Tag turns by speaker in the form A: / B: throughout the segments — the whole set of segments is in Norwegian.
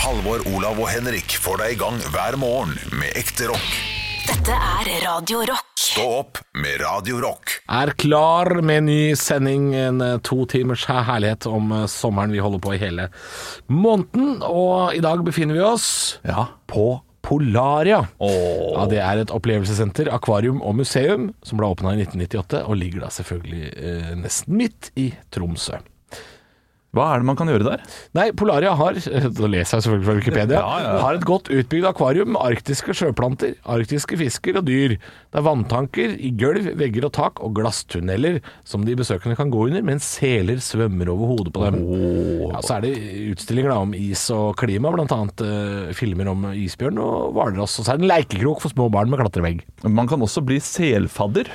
A: Halvor, Olav og Henrik får deg i gang hver morgen med ekte rock.
B: Dette er Radio Rock.
A: Stå opp med Radio Rock.
C: er klar med en ny sending. En eh, to timers herlighet om eh, sommeren. Vi holder på i hele måneden, og i dag befinner vi oss
D: Ja.
C: på Polaria. Ja, det er et opplevelsessenter, akvarium og museum som ble åpna i 1998, og ligger da selvfølgelig eh, nesten midt i Tromsø.
D: Hva er det man kan gjøre der?
C: Nei, Polaria har Da leser jeg selvfølgelig fra Wikipedia.
D: Ja, ja, ja.
C: Har et godt utbygd akvarium med arktiske sjøplanter, arktiske fisker og dyr. Det er vanntanker i gulv, vegger og tak, og glasstunneler som de besøkende kan gå under, mens seler svømmer over hodet på dem. Ja, så er det utstillinger da, om is og klima, blant annet eh, filmer om isbjørn og hvalross. Og så er det en leikekrok for små barn med klatrevegg.
D: Man kan også bli selfadder.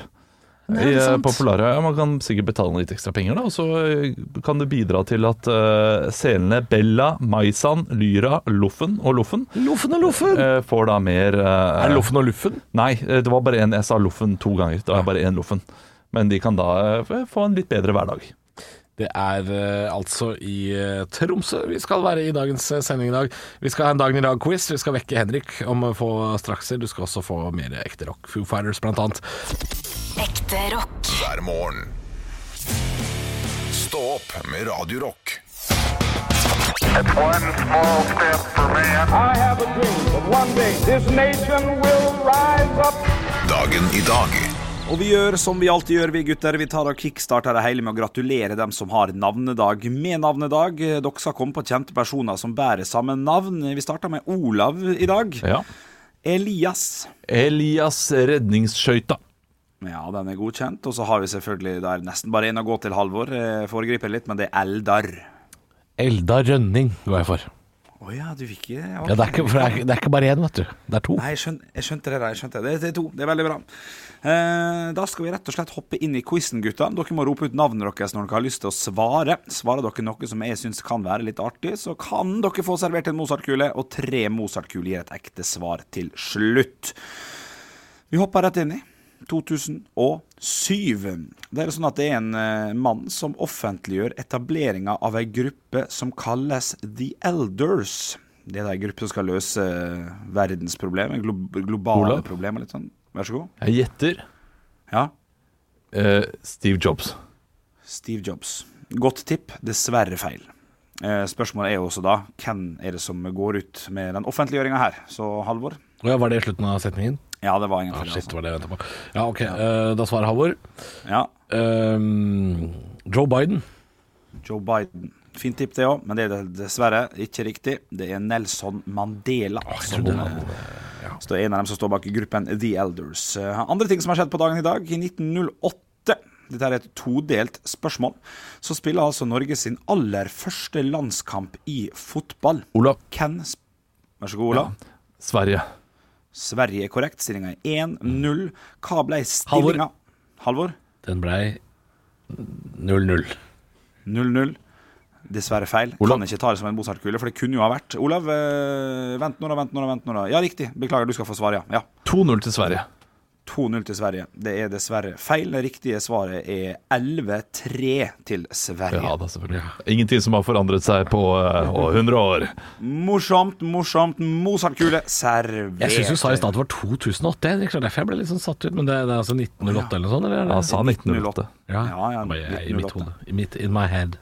C: er
D: I, eh,
C: sant.
D: på Polaria. Ja, man kan sikkert betale litt ekstra penger, da, og så eh, kan det bidra til at eh, selene Bella, Maisan, Lyra, Loffen og Loffen
C: Loffen og Loffen!
D: eh, får da mer eh,
C: Er det Loffen og Luffen?
D: Nei, eh, det var bare en, jeg sa Loffen to ganger. Det var bare én Loffen. Men de kan da eh, f- få en litt bedre hverdag.
C: Det er eh, altså i eh, Tromsø vi skal være i dagens eh, sending i dag. Vi skal ha en Dagen i dag-quiz. Vi skal vekke Henrik om å få strakser. Du skal også få mer ekte rock. Foo Fighters blant annet.
B: Ekte rock.
A: Hver morgen. Stå opp med Radio Rock.
E: It's one small step for man.
F: I have a dream that one day this nation will rise up.
A: Dagen i dag.
G: Og vi gjør som vi alltid gjør, vi gutter. Vi tar og kickstarter det hele med å gratulere dem som har navnedag med navnedag. Dere skal komme på kjente personer som bærer samme navn. Vi starter med Olav i dag.
D: Ja.
G: Elias.
D: Elias Redningsskøyta.
G: Ja, den er godkjent. Og så har vi selvfølgelig der nesten bare én å gå til, Halvor. Jeg Foregriper litt, men det er Eldar.
C: Elda Rønning går jeg for.
G: Å ja, du fikk eh, ikke
C: Ja, det, er ikke, for det, er, det er ikke bare én, vet du. Det er to.
G: Nei, jeg skjønte, jeg skjønte det. der, jeg skjønte det. Det, det er to. Det er veldig bra. Eh, da skal vi rett og slett hoppe inn i quizen, gutta. Dere må rope ut navnet deres når dere har lyst til å svare. Svarer dere noe som jeg syns kan være litt artig, så kan dere få servert en Mozart-kule, og tre Mozart-kuler gir et ekte svar til slutt. Vi hopper rett inn i 2007. Det er sånn at det er en eh, mann som offentliggjør etableringa av ei gruppe som kalles The Elders. Det er ei gruppe som skal løse verdensproblemer, glo globale
D: Olav?
G: problemer. litt sånn. Vær så god.
D: Jeg gjetter
G: Ja,
D: eh, Steve Jobs.
G: Steve Jobs. Godt tipp, dessverre feil. Eh, Spørsmålet er jo også da hvem er det som går ut med den offentliggjøringa her? Så Halvor?
C: Å ja, var det slutten av setningen?
G: Ja, det
C: Ah,
G: var ingen feil.
C: shit, det var det jeg venta på. Ja, ok. eh, da svarer Halvor.
G: Altså. Ja,
C: Ehm, Joe Biden.
G: Joe Biden. Fint tipp, det òg, men det er dessverre ikke riktig. Det er Nelson Mandela. som, eh, Så det er en av dem som står bak gruppen The Elders. Eh, Andre ting som har skjedd på dagen i dag. I 1908 dette er et todelt spørsmål. Så spiller altså Norge sin aller første landskamp i fotball.
D: Olav.
G: Hvem sp- Vær så god, Ola.
D: Sverige.
G: Sverige er korrekt. Stillinga er 1-0. Hva ble
C: Halvor.
G: stillinga? Halvor?
C: Den blei 0-0.
G: 0-0. Dessverre feil.
D: Olav.
G: Kan ikke ta det som en Mozart-kule, for det kunne jo ha vært. Olav, eh, vent nå, da, vent nå, da, vent nå. da. Ja, riktig. Beklager, du skal få svare, ja. ja.
D: 2-0 til Sverige.
G: 2-0 til Sverige. Det er dessverre feil. Det riktige svaret er 11-3 til Sverige.
D: Ja da, selvfølgelig. Ingenting som har forandret seg på eh, å, 100 år.
G: Morsomt, morsomt. Mozart-kule servert.
C: Jeg syns du sa i stad det var 2008, Henrik, så derfor jeg ble litt sånn satt ut. Men det, det er altså 1908 eller noe sånt? Eller? er det-
D: Han sa 1908.
C: Ja,
G: Ja, ja,
C: bare jeg- i
G: 1908.
C: mitt hode. I mitt, in my head.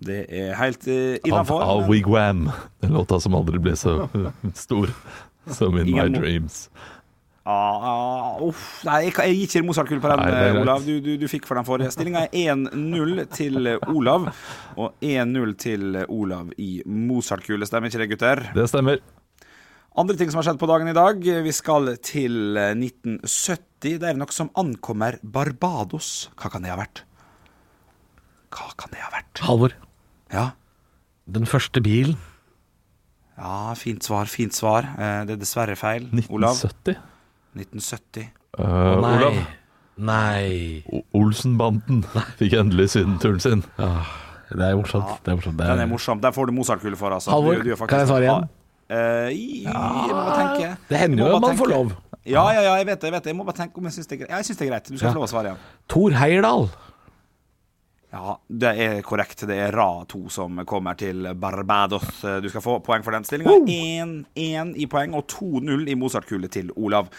G: Det er helt uh,
D: Av,
G: innafor.
D: av Wigwam. Den låta som aldri ble så eh, stor som In My
G: Ingen mo-
D: Dreams.
G: Ah, ah, uff. Nei, jeg, kan- jeg gir ikke en Mozart-kull på den,
D: Nei, det er
G: eh,
D: greit.
G: Olav. Du, du, du fikk for den forrige. Stillinga er 1-0 til eh, Olav, og 1-0 til eh, Olav i Mozart-kule. Stemmer ikke det, gutter?
D: Det stemmer.
G: Andre ting som har skjedd på dagen i dag. Vi skal til eh, 1970. Det er noe som ankommer Barbados. Hva kan det ha vært? Hva kan det ha vært?
C: Halvor,
G: Ja,
C: den første bilen
G: ja fint svar, fint svar. Eh, Det er dessverre feil. Olav,
D: 1970.
G: 1970.
D: Eh, Olav.
C: Nei.
D: O- Olsenbanden fikk endelig sydenturen sin.
C: Ah, Det er morsomt. Det er morsomt. Det
G: Den er morsom. Der får du Mozart-kule for, altså.
C: Halvor,
G: Du- du er faktisk-
C: kan jeg svare igjen?
G: Ah, eh, i- jeg må bare tenke.
C: Det hender
G: Jeg
C: jo
G: må
C: at
G: bare
C: man får
G: tenke.
C: lov.
G: Ja, ja, ja, jeg vet det. Jeg, vet det. jeg må bare tenke om jeg syns det er greit. Ja, jeg syns det er greit. Du skal få lov å svare igjen.
C: Thor Heyerdahl.
G: Ja, det er korrekt. Det er Ra 2 som kommer til Barbados. Du skal få poeng for den stillinga. 1-1 i poeng og 2-0 i Mozart-kule til Olav.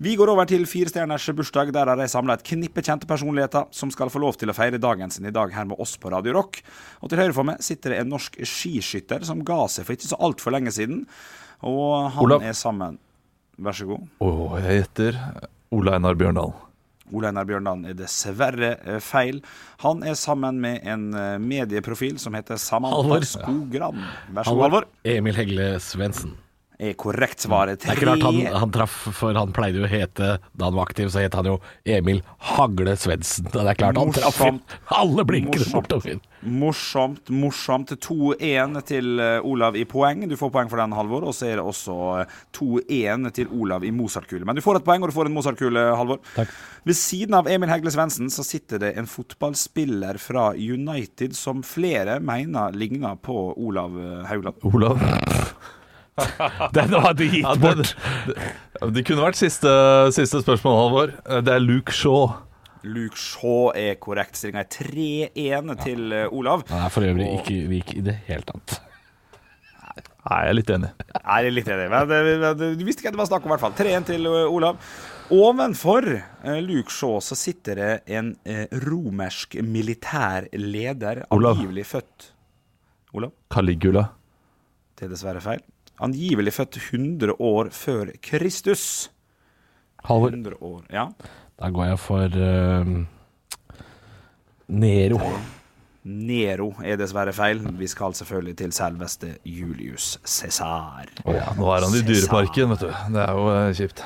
G: Vi går over til firestjerners bursdag. Der har de samla et knippe kjente personligheter som skal få lov til å feire dagen sin i dag her med oss på Radio Rock. Og til høyre for meg sitter det en norsk skiskytter som ga seg for ikke så altfor lenge siden. Og han
D: Olav.
G: er sammen Vær så god.
D: Å, jeg gjetter Ole Einar Bjørndal.
G: Ole Einar Bjørndalen er dessverre eh, feil. Han er sammen med en eh, medieprofil som heter
C: Halvor.
G: Samantha Skogran. Vær så god, Halvor.
C: Emil Hegle Svendsen.
G: Er korrekt svaret.
C: Det
G: Tre
C: er ikke rart han, han traff, for han pleide jo å hete Da han var aktiv, så het han jo Emil Hagle Svendsen. Det er klart han traff inn.
G: Morsomt.
C: Alle blinkene
G: Morsomt.
C: bortover.
G: Morsomt, morsomt. 2-1 til eh, Olav i poeng. Du får poeng for den, Halvor. Og så er det også eh, 2-1 til Olav i Mozart-kule. Men du får et poeng, og du får en Mozart-kule, Halvor. Ved siden av Emil Hegle Svendsen så sitter det en fotballspiller fra United som flere mener ligner på Olav eh, Haugland.
D: Olav.
C: Den var det gitt
D: Ja, det,
C: bort.
D: det, det kunne vært siste, siste spørsmål, Halvor. Det er Luke Shaw.
G: Luke Shaw er korrekt. Stillinga er 3-1 til eh, Olav.
C: Han er for øvrig ikke lik i det hele tatt.
D: Nei, jeg er litt enig.
G: Nei, det er litt enig. Men, det- men det- du visste ikke hva det var snakk om, i hvert fall. 3-1 til eh, Olav. Ovenfor eh, Luke Shaw så sitter det en eh, romersk militær leder,
D: Olav.
G: angivelig født Olav,
D: Caligula.
G: det er dessverre feil. Angivelig født 100 år før Kristus.
C: Halvor,
G: 100 år, ja.
C: da går jeg for eh, Nero.
G: Nero er dessverre feil. Vi skal selvfølgelig til selveste Julius Cæsar.
D: Nå er han i Dyreparken, vet du. Det er jo eh, kjipt.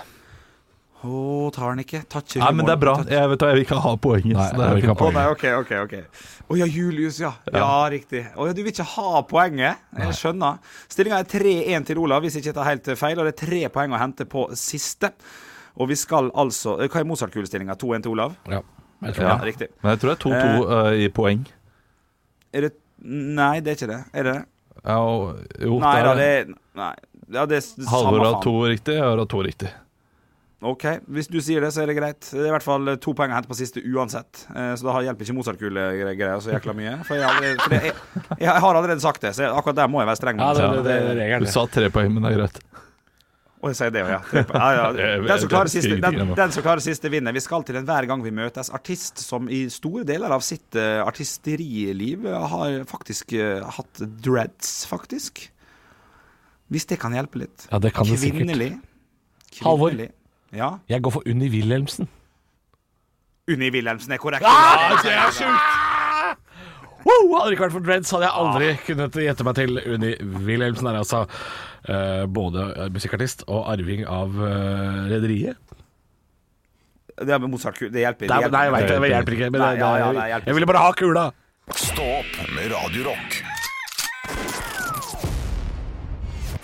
G: Å, tar han ikke? Tar ikke
D: Nei, men det er bra.
G: humoren. Tar ikke-
D: Jeg vet hva, jeg vil ikke ha poenget.
C: Nei,
D: så det
C: jeg
D: er
C: vil ikke ha
D: fint.
G: Å nei, OK, OK. ok Å ja, Julius, ja. ja. riktig. Å ja, Du vil ikke ha poenget? Jeg skjønner. Stillinga er 3-1 til Olav, hvis ikke jeg tar helt eh, feil, og det er tre poeng å hente på siste. Og vi skal altså Hva er Mozart-kulestillinga? 2-1 til Olav?
C: Ja, jeg tror
G: Ja,
C: det.
G: riktig.
D: Men jeg tror det er 2-2 eh, i poeng.
G: Er det Nei, det er ikke det. Er det det?
D: Ja, og, jo,
G: Nei da,
D: er-
G: det er Nei. Ja, det er s-
D: Halvor
G: samme
D: har to
G: faen.
D: riktig, jeg har hatt to riktig.
G: OK, hvis du sier det, så er det greit. Det er i hvert fall eh, to poeng å hente på siste uansett. Eh, Så da hjelper ikke Mozart-kulegreia så jækla mye. For, jeg, har allerede, for det, jeg, jeg har allerede sagt det, så jeg, akkurat der må jeg være streng.
C: Ja,
G: med meg
C: det,
G: selv.
C: det, det, det er regelen.
D: Du sa tre poeng, men det er greit.
G: Og jeg sier det, ja. Tre på- ja, ja. Den, som klarer siste, den, den som klarer siste, vinner. Vi skal til en Hver gang vi møtes artist som i store deler av sitt eh, artisteriliv eh, har faktisk eh, hatt dreads, faktisk. Hvis det kan hjelpe litt.
C: Ja, det kan det sikkert.
G: Kvinnelig.
C: Halvor.
G: Kvinnelig. Ja.
C: Jeg går for Unni Wilhelmsen.
G: Unni Wilhelmsen er korrekt.
C: Ah, Wow, hadde det ikke vært for Dreads, hadde jeg aldri kunnet gjette meg til Unni Wilhelmsen. er altså eh, både musikkartist og arving av uh, rederiet.
G: Det er med Mozart Det hjelper.
C: Nei,
G: det hjelper.
C: nei, jeg vet det, det hjelper ikke. Men det,
G: Nei, ja, ja, det
C: jeg,
G: hjelper ikke.
C: ville bare ha kula.
A: Stå opp med Radio Rock.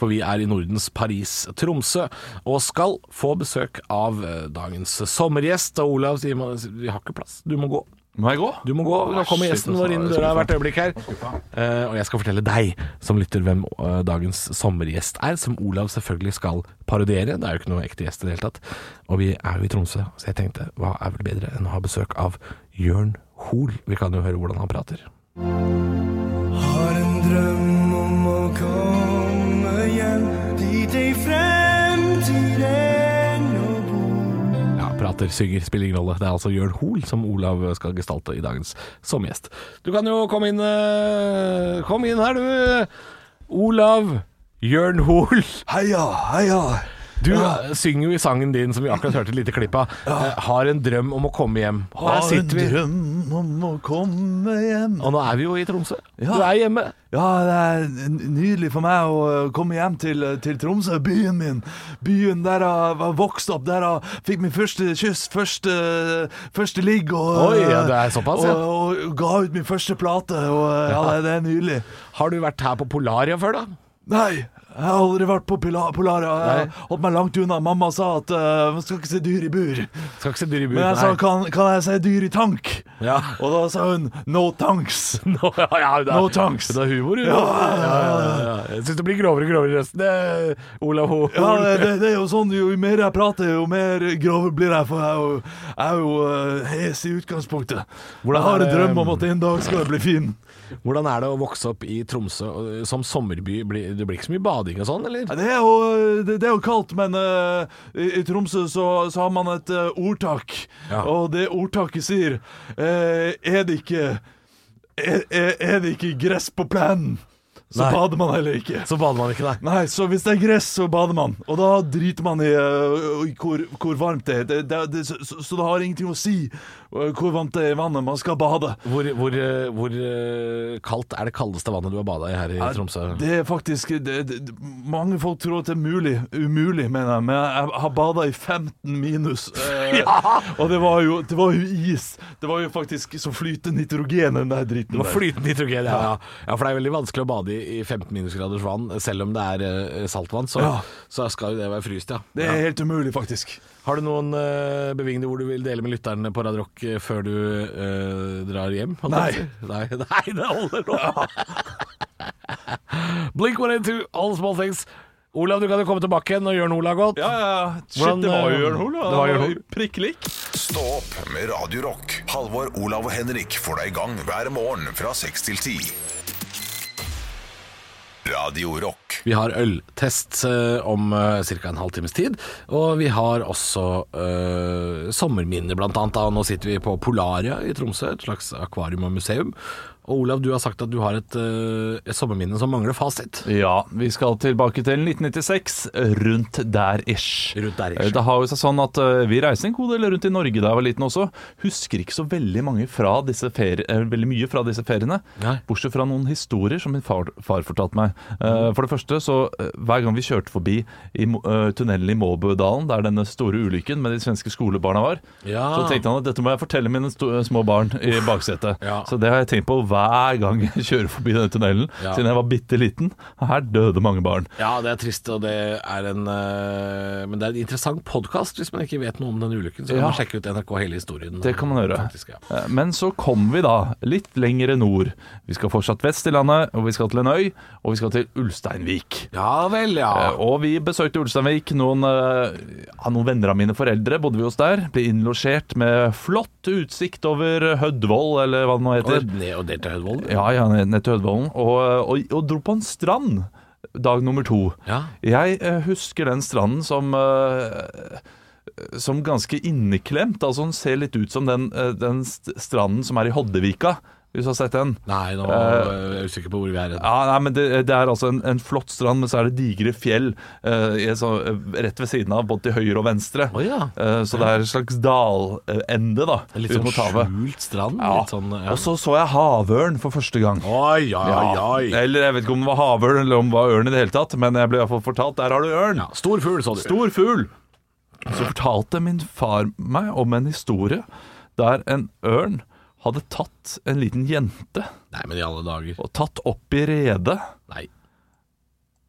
C: For vi er i Nordens Paris, Tromsø, og skal få besøk av eh, dagens sommergjest. Og Olav sier man, vi har ikke plass, du må gå.
D: Må jeg gå?
C: Du må gå, nå kommer
D: Shit,
C: gjesten
D: altså,
C: vår inn
D: jeg
C: døra
D: skal
C: hvert øyeblikk her. Eh, og jeg skal fortelle deg som lytter hvem eh, dagens sommergjest er, som Olav selvfølgelig skal parodiere. Det er jo ikke noe ekte gjest i det hele tatt. Og vi er jo i Tromsø, så jeg tenkte hva er vel bedre enn å ha besøk av Jørn Hoel. Vi kan jo høre hvordan han prater.
H: Har en drøm om å komme hjem dit ei fremtiden å bo.
C: Ja, prater, synger, spiller ingen rolle. Det er altså Jørn Hoel som Olav skal gestalte i dagens som gjest. Du kan jo komme inn eh, Kom inn her, du. Olav Jørn Hoel.
H: Heia, heia.
C: Du eh, synger jo i sangen din, som vi akkurat hørte et lite klipp av, eh, 'Har en drøm om å komme hjem'. Og her
D: Har en
C: sitter vi,
D: drøm om å komme hjem.
C: og nå er vi jo i Tromsø.
D: Ja.
C: Du er hjemme.
D: Ja, det er n- nydelig for meg å eh, komme hjem til, eh, til Tromsø, byen min. Byen der jeg var vokst opp, der jeg fikk min første kyss, første, første ligg. Og,
C: Oi, ja, det er såpass,
D: og,
C: ja.
D: og, ga ut min første plate, og eh, ja, det, det er nydelig.
C: Har du vært her på Polaria før, da?
D: Nei, jeg har aldri vært på Pila- Polaria. Jeg
C: Nei.
D: har holdt meg langt unna. Mamma sa at eh, man skal ikke se dyr i bur.
C: Skal ikke se dyr i bur.
D: Men jeg sa
C: nei.
D: kan, kan jeg se dyr i tank?
C: Ja.
D: Og da sa hun no tanks.
C: No, ja, ja, det er,
D: No tanks.
C: Det er humor, jo.
D: ja, ja,
C: Jeg syns det blir grovere og grovere i resten, det, Olav Hoel.
D: Ja, det, det- det er jo sånn, Jo mer jeg prater, jo mer grov blir jeg. For jeg er jo, jeg er jo eh, hes i utgangspunktet.
C: Hvordan
D: jeg har
C: er
D: en
C: det-
D: drøm om at en dag skal jeg bli fin.
C: Hvordan er det å vokse opp i Tromsø og- eh, som sommerby? Blir- Det blir ikke så mye bading og sånn, eller?
D: Ja, Det er jo, det, det er jo kaldt, men eh, i, i Tromsø så, så har man et eh, ordtak.
C: Ja.
D: Og det ordtaket sier eh, Er det ikke er, er er det ikke gress på plenen, så
C: Nei.
D: bader man heller ikke.
C: Så bader man ikke, nei.
D: Nei, så hvis det er gress, så bader man. Og da driter man i, eh, i hvor, hvor varmt det er. Det, det, det, så, så så det har ingenting å si eh, hvor varmt det er i vannet. Man skal bade.
C: Hvor, hvor, eh, hvor eh, kaldt er det kaldeste vannet du har bada i her i
D: Ja,
C: Tromsø?
D: Det er faktisk det, det, det- Mange folk tror at det er mulig. Umulig, mener jeg. Men jeg jeg har bada i 15 minus. Eh, Og det var, jo, det var jo is. Det var jo faktisk så flytende nitrogen, den der driten.
C: Det var
D: der.
C: flytende nitrogen, ja, ja. ja. For det er veldig vanskelig å bade i i 15 minusgraders vann, selv om det er eh, saltvann. Så,
D: Ja.
C: så skal jo det være fryst, ja.
D: Det
C: ja.
D: er helt umulig, faktisk.
C: Har du noen eh, bevingede ord du vil dele med lytterne på Radio Rock eh, før du eh, drar hjem? holdt
D: Nei.
C: jeg på å si? Nei. Nei, det holder nå. Blink 182, all small things. Olav, du kan jo komme tilbake igjen og gjøre noe Olav godt.
D: Ja, ja. Shit,
C: Hvordan,
D: det var jo
C: eh,
D: Jørn Hoel. da.
C: det var Jørn
D: Han
C: Hoel.
D: Prikk lik.
A: Stå opp med Radio Rock. Halvor, Olav og Henrik får deg i gang hver morgen fra 6 til 10. Radio Rock.
C: Vi har øltest eh, om uh, ca. en halvtimes tid. Og vi har også eh, sommerminner, blant annet. Da. Nå sitter vi på Polaria i Tromsø, et slags akvarium og museum. Og Olav, du har sagt at du har et, eh, et sommerminne som mangler fasit.
D: Ja, vi skal tilbake til 1996, rundt der ish.
C: Rundt der ish.
D: Eh, Det har jo seg sånn at eh, vi reiste en god del rundt i Norge da jeg var liten også. Husker ikke så veldig, mange fra disse feri- eh, veldig mye fra disse feriene.
C: Nei.
D: Bortsett fra noen historier som min far, far fortalte meg. Eh, For det første, så eh, hver gang vi kjørte forbi i Mo- eh, tunnelen i Måbødalen, der denne store ulykken med de svenske skolebarna var,
C: Ja.
D: så tenkte han at dette må jeg fortelle mine sto- små barn i baksetet.
C: Ja.
D: Så det har jeg tenkt på hver gang jeg kjører forbi denne tunnelen,
C: Ja.
D: siden jeg var bitte liten. Her døde mange barn.
C: Ja, det er trist, og det er en eh, Men det er en interessant podkast. Hvis man ikke vet noe om den ulykken, så kan
D: Ja.
C: man sjekke ut NRK hele historien.
D: Det kan man gjøre.
C: Faktisk, ja.
D: Eh, Men så kom vi da litt lengre nord. Vi skal fortsatt vest i landet, og vi skal til en øy, og vi skal til Ulsteinvik.
C: ja vel, ja.
D: Eh, Og vi besøkte Ulsteinvik. Noen, eh, ja, noen venner av mine foreldre bodde vi hos der. Ble innlosjert med flott utsikt over Hødvoll, eller hva det nå heter.
C: og ned og delt til Høydvoll.
D: Ja, ja, ned ned til Hødvollen. Og, eh, og, og dro på en strand dag nummer to.
C: Ja.
D: Jeg eh, husker den stranden som eh, som ganske inneklemt. Altså Den ser litt ut som den, eh, den st stranden som er i Hoddevika, hvis du har sett den.
C: Nei, nå
D: Eh,
C: er jeg usikker på hvor vi er.
D: Ja, nei, men Det, det er altså en, en flott strand, men så er det digre fjell eh, i en sånn, eh, rett ved siden av, både til høyre og venstre.
C: Å, ja.
D: Eh, så det er en slags dalende, da.
C: Litt
D: ut
C: sånn
D: mot havet.
C: skjult strand.
D: Ja.
C: Litt sånn, ja.
D: Og så så jeg havørn for første gang.
C: Oi, oi,
D: Ja. Eh,
C: oi.
D: Eller jeg vet ikke om det var havørn eller om det var ørn i det hele tatt, men jeg ble i hvert fall fortalt der har du ørn.
C: Ja, stor fugl, så du.
D: Stor fugl! Så fortalte min far meg om en historie der en ørn hadde tatt en liten jente
C: Nei, men i alle dager.
D: og tatt opp i redet
C: Nei.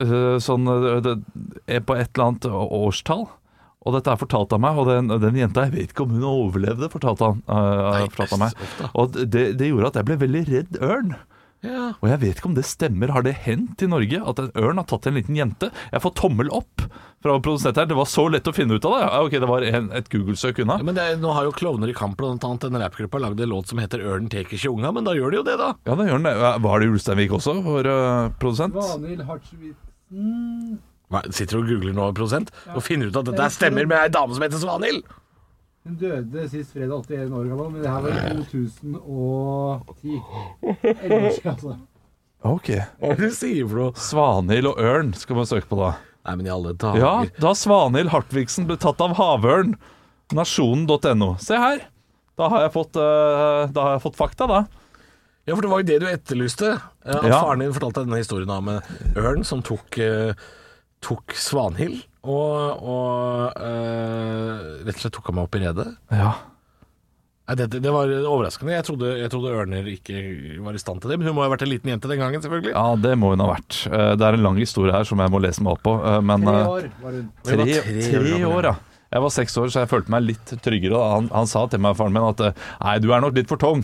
D: eh, sånn eh, det, eh, på et eller annet årstall. Og dette er fortalt av meg, og den, den jenta jeg vet ikke om hun overlevde, fortalte han. eh,
C: Nei,
D: fortalte han meg.
C: uff da.
D: Og det, det gjorde at jeg ble veldig redd ørn.
C: Ja.
D: Og jeg vet ikke om det stemmer. Har det hendt i Norge at en ørn har tatt en liten jente? Jeg får tommel opp fra produsenten her. Det var så lett å finne ut av det. Ja, ok, det var en, et Google-søk unna.
C: Men det er, nå har jo Klovner i Kamp blant annet en rappgruppe lagd en låt som heter 'Ørnen tar ikke unga', men da gjør de jo det, da.
D: Ja, det gjør den det. Var det i Ulsteinvik også, vår eh, produsent?
C: Nei, sitter og googler nå, prosent, og finner ut at dette her stemmer med ei dame som heter Svanhild.
I: Hun døde sist fredag, 81 år gammel, men det her var i 2010. 11 år siden, altså.
D: Ok.
C: Hva er det du sier for noe?
D: Svanhild og ørn skal man søke på da.
C: Nei, men i alle dager.
D: Ja, da Svanhild Hartvigsen ble tatt av havørn. Nasjonen.no. Se her. Da har, jeg fått, eh, da har jeg fått fakta, da.
C: Ja, for det var jo det du etterlyste. eh, At
D: Ja.
C: faren din fortalte denne historien om en ørn som tok, eh, tok Svanhild og, og eh, rett og slett tok ham opp i redet.
D: Ja.
C: Nei, det, det var overraskende. Jeg trodde, jeg trodde Ørner ikke var i stand til det, men hun må ha vært en liten jente den gangen, selvfølgelig.
D: Ja, det må hun ha vært. Eh, Det er en lang historie her som jeg må lese meg opp på. eh, Men,
I: Tre
D: eh,
I: år var hun.
D: Tre,
C: var
D: tre,
C: tre år gammel,
D: år, ja. Jeg var seks år, så jeg følte meg litt tryggere. da. Han, han sa til meg, faren min, at eh, Nei, du er nok litt for tung.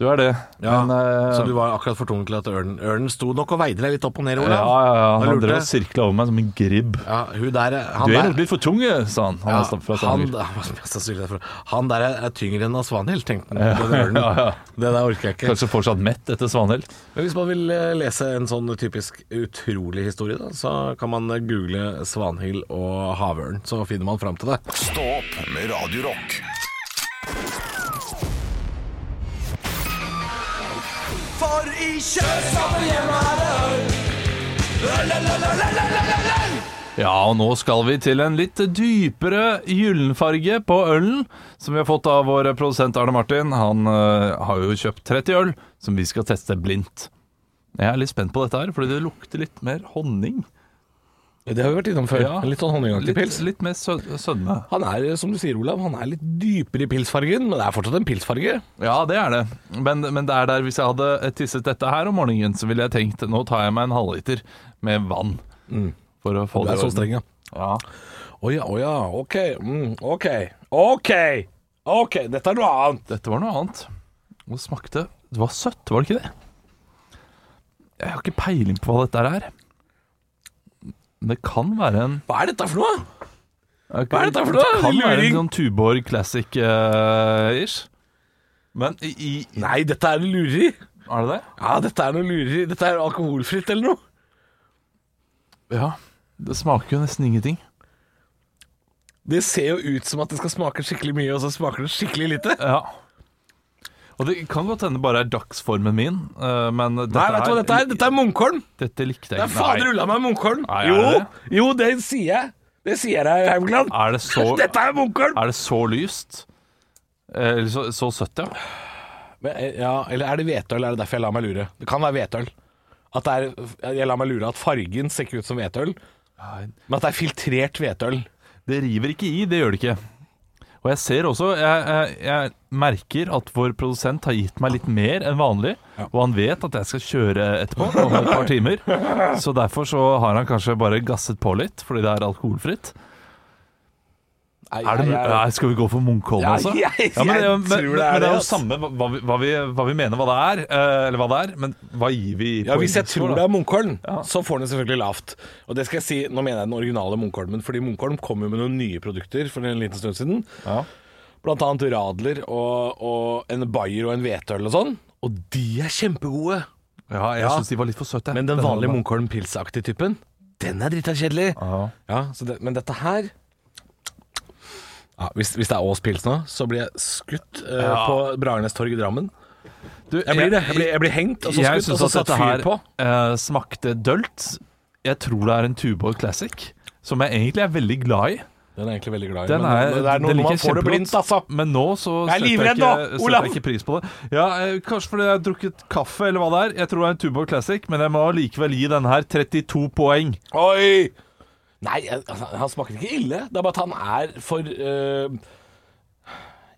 D: Du er det.
C: Ja,
D: Men, eh,
C: Så du var akkurat for tung til at ørnen, ørnen sto nok og veide deg litt opp og ned,
D: ja,
C: Olav?
D: ja, ja.
C: Da
D: Han
C: lurte
D: drev og
C: jeg.
D: sirkla over meg som en gribb.
C: Ja, hun der eh, han
D: Du er
C: der-
D: nok litt for tung, eh," sa han. Han,
C: ja,
D: var stopp fra
C: han,
D: Stavanger.
C: mest sannsynlig derfra. han der er, er tyngre enn Svanhild, tenkte han. på den ørnen.
D: ja, ja.
C: Det der orker jeg ikke.
D: Kanskje fortsatt mett etter Svanhild.
C: Men hvis man vil eh, lese en sånn typisk utrolig historie, da, så kan man eh, google Svanhild og havørn, så finner man fram til det.
A: Stå opp med Radio Rock.
D: Ja, og nå skal vi til en litt dypere gyllenfarge på ølen, som vi har fått av vår produsent Arne Martin. Han eh, har jo kjøpt 30 øl, som vi skal teste blindt. Jeg er litt spent på dette her, fordi det lukter litt mer honning.
C: Det har vi vært innom før.
D: Ja.
C: Litt sånn honningaktig
D: Litt,
C: pils.
D: litt mer sø sødme.
C: Han er, eh, som du sier, Olav, han er litt dypere i pilsfargen, men det er fortsatt en pilsfarge.
D: Ja, det er det. Men, men det er der hvis jeg hadde eh, tisset dette her om morgenen, så ville jeg tenkt nå tar jeg meg en halvliter med vann. For å få
C: Mm. Det
D: det,
C: er så streng, ja.
D: Ja.
C: Å ja, å ja. Ok. Mm, ok. Ok! Ok, dette er noe annet.
D: Dette var noe annet. Og det smakte Det var søtt, var det ikke det? Jeg har ikke peiling på hva dette her er. Men det kan være en
C: Hva er dette for noe?
D: Hva
C: er dette for noe?
D: Det kan være
C: Luring.
D: en sånn Tuborg eh, Classic-ish. Men i, i
C: Nei, dette er noe lureri.
D: Er det det?
C: Ja, dette er noe lureri. Dette er alkoholfritt eller noe.
D: Ja. Det smaker jo nesten ingenting.
C: Det ser jo ut som at det skal smake skikkelig mye, og så smaker det skikkelig lite.
D: Ja. Og det kan godt hende bare er dagsformen min, eh, men dette
C: Nei, vet du hva dette er? Dette er munkholm.
D: Dette likte
C: Det
D: jeg
C: er fader ulla meg munkholm.
D: Nei, er
C: Jo,
D: det
C: jo, det sier jeg. Det sier jeg deg, Haugland.
D: Er det så,
C: Dette er munkholm.
D: er det så lyst? Eh, Eller så, så søtt, ja.
C: Men, eh, Ja, eller er det hvetøl? Er det derfor jeg lar meg lure? Det kan være hvetøl. At det er, jeg lar meg lure at fargen ser ikke ut som hvetøl, men at det er filtrert hvetøl.
D: Det river ikke i, det gjør det ikke. Og jeg ser også, jeg, jeg, jeg merker at vår produsent har gitt meg litt mer enn vanlig, og han vet at jeg skal kjøre etterpå om et par timer. Så derfor så har han kanskje bare gasset på litt, fordi det er alkoholfritt.
C: Nei,
D: Er det,
C: jeg-
D: nei, skal vi gå for Munkholm,
C: Ja,
D: altså?
C: jeg- jeg
D: men, men,
C: tror det
D: men,
C: er
D: men det er
C: det,
D: jo
C: ass.
D: samme hva vi, hva, vi, hva vi mener hva det er, eh, eller hva det er, men hva gir vi
C: Ja, Hvis jeg
D: poengscore,
C: tror
D: da?
C: det er Munkholm, så får den selvfølgelig lavt. Og det skal jeg si, Nå mener jeg den originale Munkholmen, fordi Munkholm kom jo med noen nye produkter for en liten stund siden.
D: Ja.
C: Blant annet Radler og, og en Bayer og en hvetøl og sånn. Og de er kjempegode!
D: Ja, jeg
C: Ja.
D: synes de var litt for søte.
C: Men den vanlige Munkholm pilsaktige typen, den er drita kjedelig.
D: Ja.
C: Ja, så det, men dette her ja, hvis, hvis det er Ås pils nå, så blir jeg skutt eh, på Bragernes torg i Drammen.
D: Du,
C: Jeg blir det. Jeg blir, jeg blir hengt, og så
D: jeg
C: skutt, og
D: syns
C: så
D: at
C: satt
D: dette
C: fyr
D: her
C: på.
D: eh, smakte dølt. Jeg tror det er en Tuborg Classic, som jeg egentlig er veldig glad i.
C: Den er jeg egentlig veldig glad i.
D: Den
C: men
D: er,
C: det er noe
D: den liker
C: man
D: jeg
C: får det
D: kjempegodt,
C: blindt, altså.
D: Men nå så
C: Jeg er
D: setter,
C: livredd
D: ikke,
C: nå,
D: setter
C: Olav!
D: jeg ikke pris på det. Ja, eh, Kanskje fordi jeg har drukket kaffe, eller hva det er. Jeg tror det er en Tuborg Classic, men jeg må likevel gi denne her 32 poeng.
C: altså. Oi! Nei, altså, han smaker ikke ille. Det er bare at han er for eh,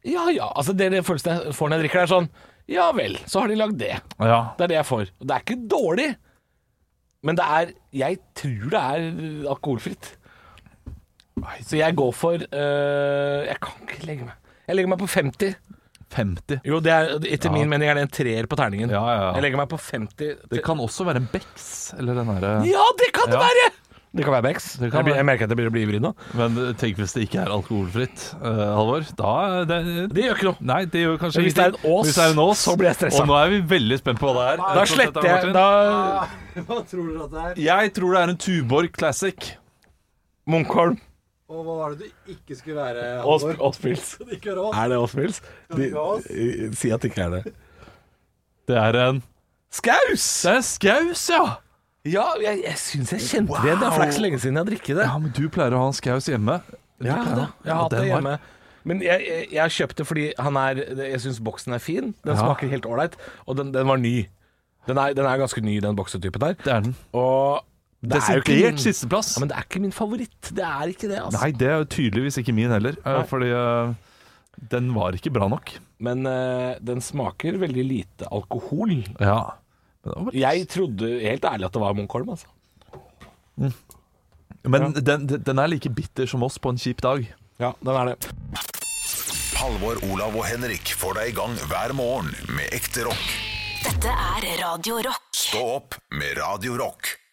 C: Ja ja. Altså, det er den følelsen jeg får når jeg drikker det, er sånn Ja vel, så har de lagd det.
D: Ja.
C: Det er det jeg får. Og det er ikke dårlig, men det er Jeg tror det er alkoholfritt. Så jeg går for eh, Jeg kan ikke legge meg. Jeg legger meg på 50.
D: 50.
C: Jo, det er, etter min mening er det en treer på terningen.
D: Ja, ja, ja.
C: Jeg legger meg på 50.
D: Det kan også være en Bex, eller den eh, herre
C: Ja, det kan det
D: Ja.
C: være! Det kan være Bex.
D: Det
C: Jeg,
D: kan
C: blir-
D: være.
C: jeg merker at jeg begynner å bli ivrig nå.
D: Men tenk hvis det ikke er alkoholfritt, eh, Halvor. Da er det,
C: Det gjør ikke noe.
D: Nei, det gjør kanskje
C: Men hvis det er en
D: ingenting.
C: ås,
D: Hvis det er en ås,
C: så blir jeg stressa.
D: Og nå er vi veldig spent på hva det er.
C: Da sletter jeg da,
I: Ah, Hva tror dere at det er?
D: Jeg tror det er en Tuborg Classic.
C: Munkholm
I: Og hva var det du ikke skulle være?
C: og
I: Halvor?
C: Åspils.
I: Det ikke være oss.
C: Er det Åspils? De,
I: ikke ha oss?
C: eh, si at det ikke er det.
D: Det er en
C: Skaus!
D: Det er skaus, ja!
C: Ja, jeg, jeg syns jeg kjente det igjen. Det er for det er ikke så lenge siden jeg har drikket det.
D: Ja, men du pleier å ha en skaus hjemme. Du
C: Ja,
D: pleier
C: da,
D: å-
C: jeg har
D: Ja,
C: hatt det
D: den var-
C: hjemme. Men jeg, jeg, jeg har kjøpt det fordi han er Jeg syns boksen er fin. Den smaker helt ålreit. Og den, den var ny. Den er, den er ganske ny, den boksetypen der.
D: Det er den.
C: Og det er jo ikke
D: Desidert
C: min-
D: sisteplass.
C: Ja, men det er ikke min favoritt. Det er ikke det, altså.
D: Nei, det er jo tydeligvis ikke min heller, eh, fordi eh, Den var ikke bra nok.
C: Men eh, den smaker veldig lite alkohol.
D: Ja. Men, det var-
C: Jeg trodde helt ærlig at det var Munkholm, altså.
D: men den, den er like bitter som oss på en kjip dag.
C: Ja, den er det.
A: Halvor, Olav og Henrik får deg i gang hver morgen med ekte rock.
B: Dette er Radio Rock.
A: Stå opp med Radio Rock.